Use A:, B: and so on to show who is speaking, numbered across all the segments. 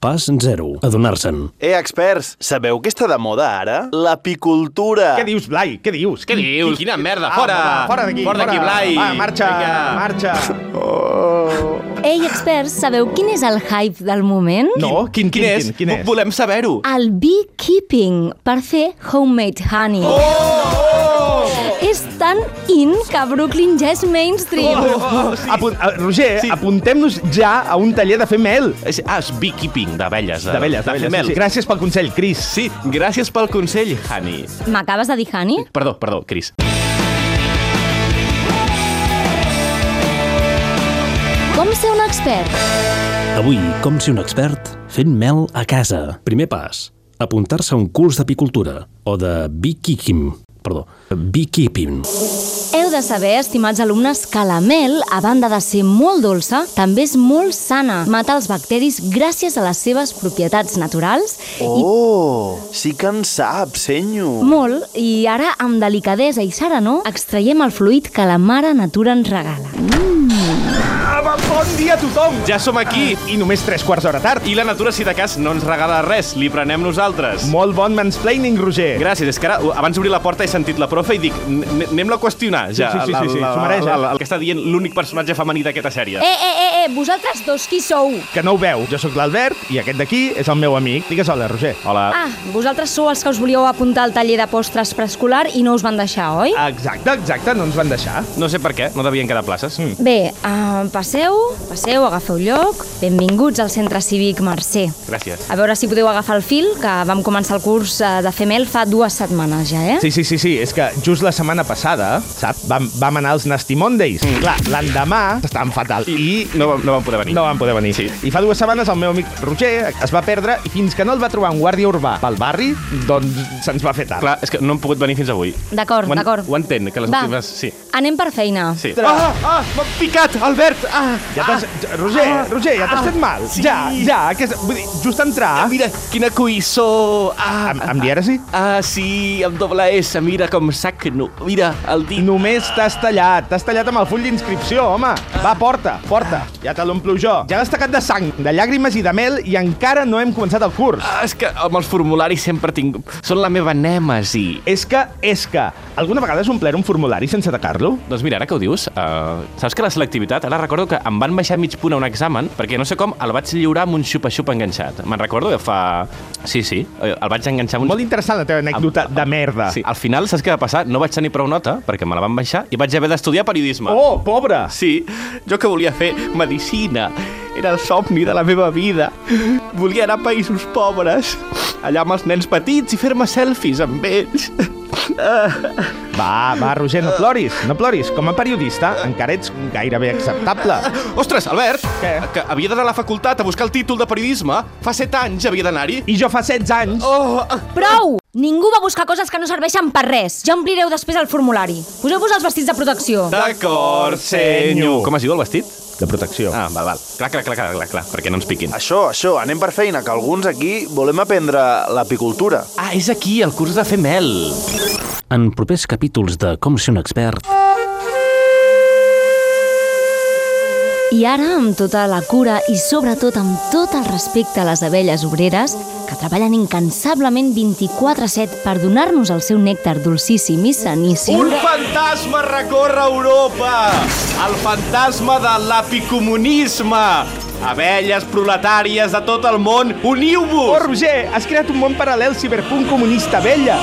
A: Pas zero. Adonar-se'n.
B: Eh, experts, sabeu què està de moda ara? L'apicultura.
C: Què dius, Blai? Què dius?
D: Què
C: Qui-
D: dius?
C: qui-
D: Quina merda,
C: Ah,
D: fora!
C: Fora d'aquí!
D: Fora d'aquí, Blai!
C: Va, marxa!
D: Vinga.
C: Marxa!
E: Ei, experts, sabeu quin és el hype del moment?
C: No? Quin, quin, quin, quin és? Ah.
D: Volem saber-ho.
E: El beekeeping per fer homemade honey. Oh! És tan in que a Brooklyn ja és mainstream.
C: Apunt, eh, Roger, apuntem-nos ja a un taller de fer mel.
D: És, ah, és beekeeping d'abelles. de-
C: D'abelles,
D: de fer
C: d'abelles.
D: mel.
C: Sí, sí. Gràcies pel consell, Cris.
D: Sí, gràcies pel consell, Hani.
E: M'acabes de dir honey?
D: Perdó, perdó, Cris.
E: Com ser un expert?
A: Avui, com si un expert fent mel a casa. Primer pas, apuntar-se a un curs d'apicultura o de beekeeping. Perdó, beekeeping.
E: Heu de saber, estimats alumnes, que la mel, a banda de ser molt dolça, també és molt sana. Mata els bacteris gràcies a les seves propietats naturals
B: Oh, sí que en sap, senyo.
E: Molt, i ara amb delicadesa i sara no, extraiem el fluid que la mare natura ens regala.
C: Ah, Bon dia a tothom!
D: Ja som aquí!
C: I només tres quarts d'hora tard.
D: I la natura, si de cas, no ens regala res. Li prenem nosaltres.
C: Molt bon mansplaining, Roger.
D: Gràcies, és que ara, uh, abans d'obrir la porta he sentit la profe i dic, "N- n- anem-la a qüestionar, ja.
C: sí, sí,
D: la-
C: sí, sí,
D: la-
C: s'ho mereix, eh?
D: la- la- El que està dient l'únic personatge femení d'aquesta sèrie.
E: Eh, eh, eh, eh, vosaltres dos qui sou?
C: Que no ho veu, jo sóc l'Albert i aquest d'aquí és el meu amic. Digues hola, Roger.
D: Hola.
E: Ah, vosaltres sou els que us volíeu apuntar al taller de postres preescolar i no us van deixar, oi?
C: Exacte, exacte, no ens van deixar.
D: No sé per què, no devien quedar places.
C: Mm.
E: Bé, uh, passeu, passeu, agafeu lloc. Benvinguts al Centre Cívic Mercè.
D: Gràcies.
E: A veure si podeu agafar el fil, que vam començar el curs eh, de fer mel fa dues setmanes ja, eh?
C: Sí, sí, sí, sí, és que just la setmana passada, sap, vam, vam anar als Nasty Mondays. Mm. Clar, l'endemà estàvem fatal i,
D: I no, vam- no vam poder venir.
C: no van poder venir. Sí. I fa dues setmanes el meu amic Roger es va perdre i fins que no el va trobar un guàrdia urbà pel barri, doncs se'ns va fer tard.
D: Clar, és que no hem pogut venir fins avui.
E: D'acord,
D: Ho en-
E: d'acord.
D: Ho entenc, que les
E: Va,
D: últimes... Sí.
E: anem per feina.
D: Sí.
C: Ah,
D: ah, m'han picat, Albert! Ah,
C: Ja t'has... Roger, Roger, ja t'has fet mal.
D: sí.
C: Ja, ja, que... és- Vull dir, just entrar...
D: Mira, quina coïssó! Ah,
C: Amb, amb dièresi?
D: ah, sí, amb doble S, mira com sac... No, mira, el dit...
C: Només t'has tallat. T'has tallat amb el full d'inscripció, home. Va, porta, porta. Ja te l'omplo jo. Ja l'has tacat de sang, de llàgrimes i de mel i encara no hem començat el curs.
D: Ah, és que amb els formularis sempre tinc... Són la meva nèmesi.
C: És que, és que, alguna vegada has omplert un formulari sense tacar-lo?
D: Doncs mira, ara que ho dius, uh, saps que la selectivitat, ara recordo que em van baixar mig punt a un examen perquè no sé com el vaig lliurar amb un xupa-xupa enganxat. Me'n recordo que fa... Sí, sí, eh, el vaig enganxar amb un
C: Molt interessant la teva anècdota de merda.
D: Sí. Al final, saps què va passar? No vaig tenir prou nota, perquè me la van baixar, i vaig haver d'estudiar periodisme.
C: Oh, pobre!
D: Sí, jo que volia fer medicina. Era el somni de la meva vida. Volia anar a països pobres, allà amb els nens petits i fer-me selfies amb ells. Ah.
C: Va, va, Roger, no ploris, no ploris. Com a periodista encara ets gairebé acceptable.
D: Ostres, Albert!
C: Què?
D: Que havia d'anar a la facultat a buscar el títol de periodisme. Fa set anys havia d'anar-hi.
C: I jo fa 16 anys...
D: Oh,
E: Prou! Ningú va buscar coses que no serveixen per res. Ja omplireu després el formulari. Poseu-vos els vestits de protecció.
D: D'acord, senyor. Com es diu el vestit?
C: De protecció.
D: Ah, val, val. Clar, clar, clar, clar, clar, clar perquè no ens piquin.
B: Això, això, anem per feina, que alguns aquí volem aprendre l'apicultura.
D: Ah, és aquí, el curs de fer mel.
A: En propers capítols de Com ser un expert,
E: I ara, amb tota la cura i sobretot amb tot el respecte a les abelles obreres, que treballen incansablement 24-7 per donar-nos el seu nèctar dolcíssim i saníssim,
D: Un fantasma recorre Europa! El fantasma de l'apicomunisme! Abelles proletàries de tot el món,
C: Oh,
D: uniu-vos!
C: Roger, has creat un món paral·lel ciberpunk comunista vella.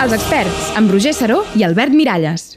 F: Els experts, amb Roger Saró i Albert Miralles.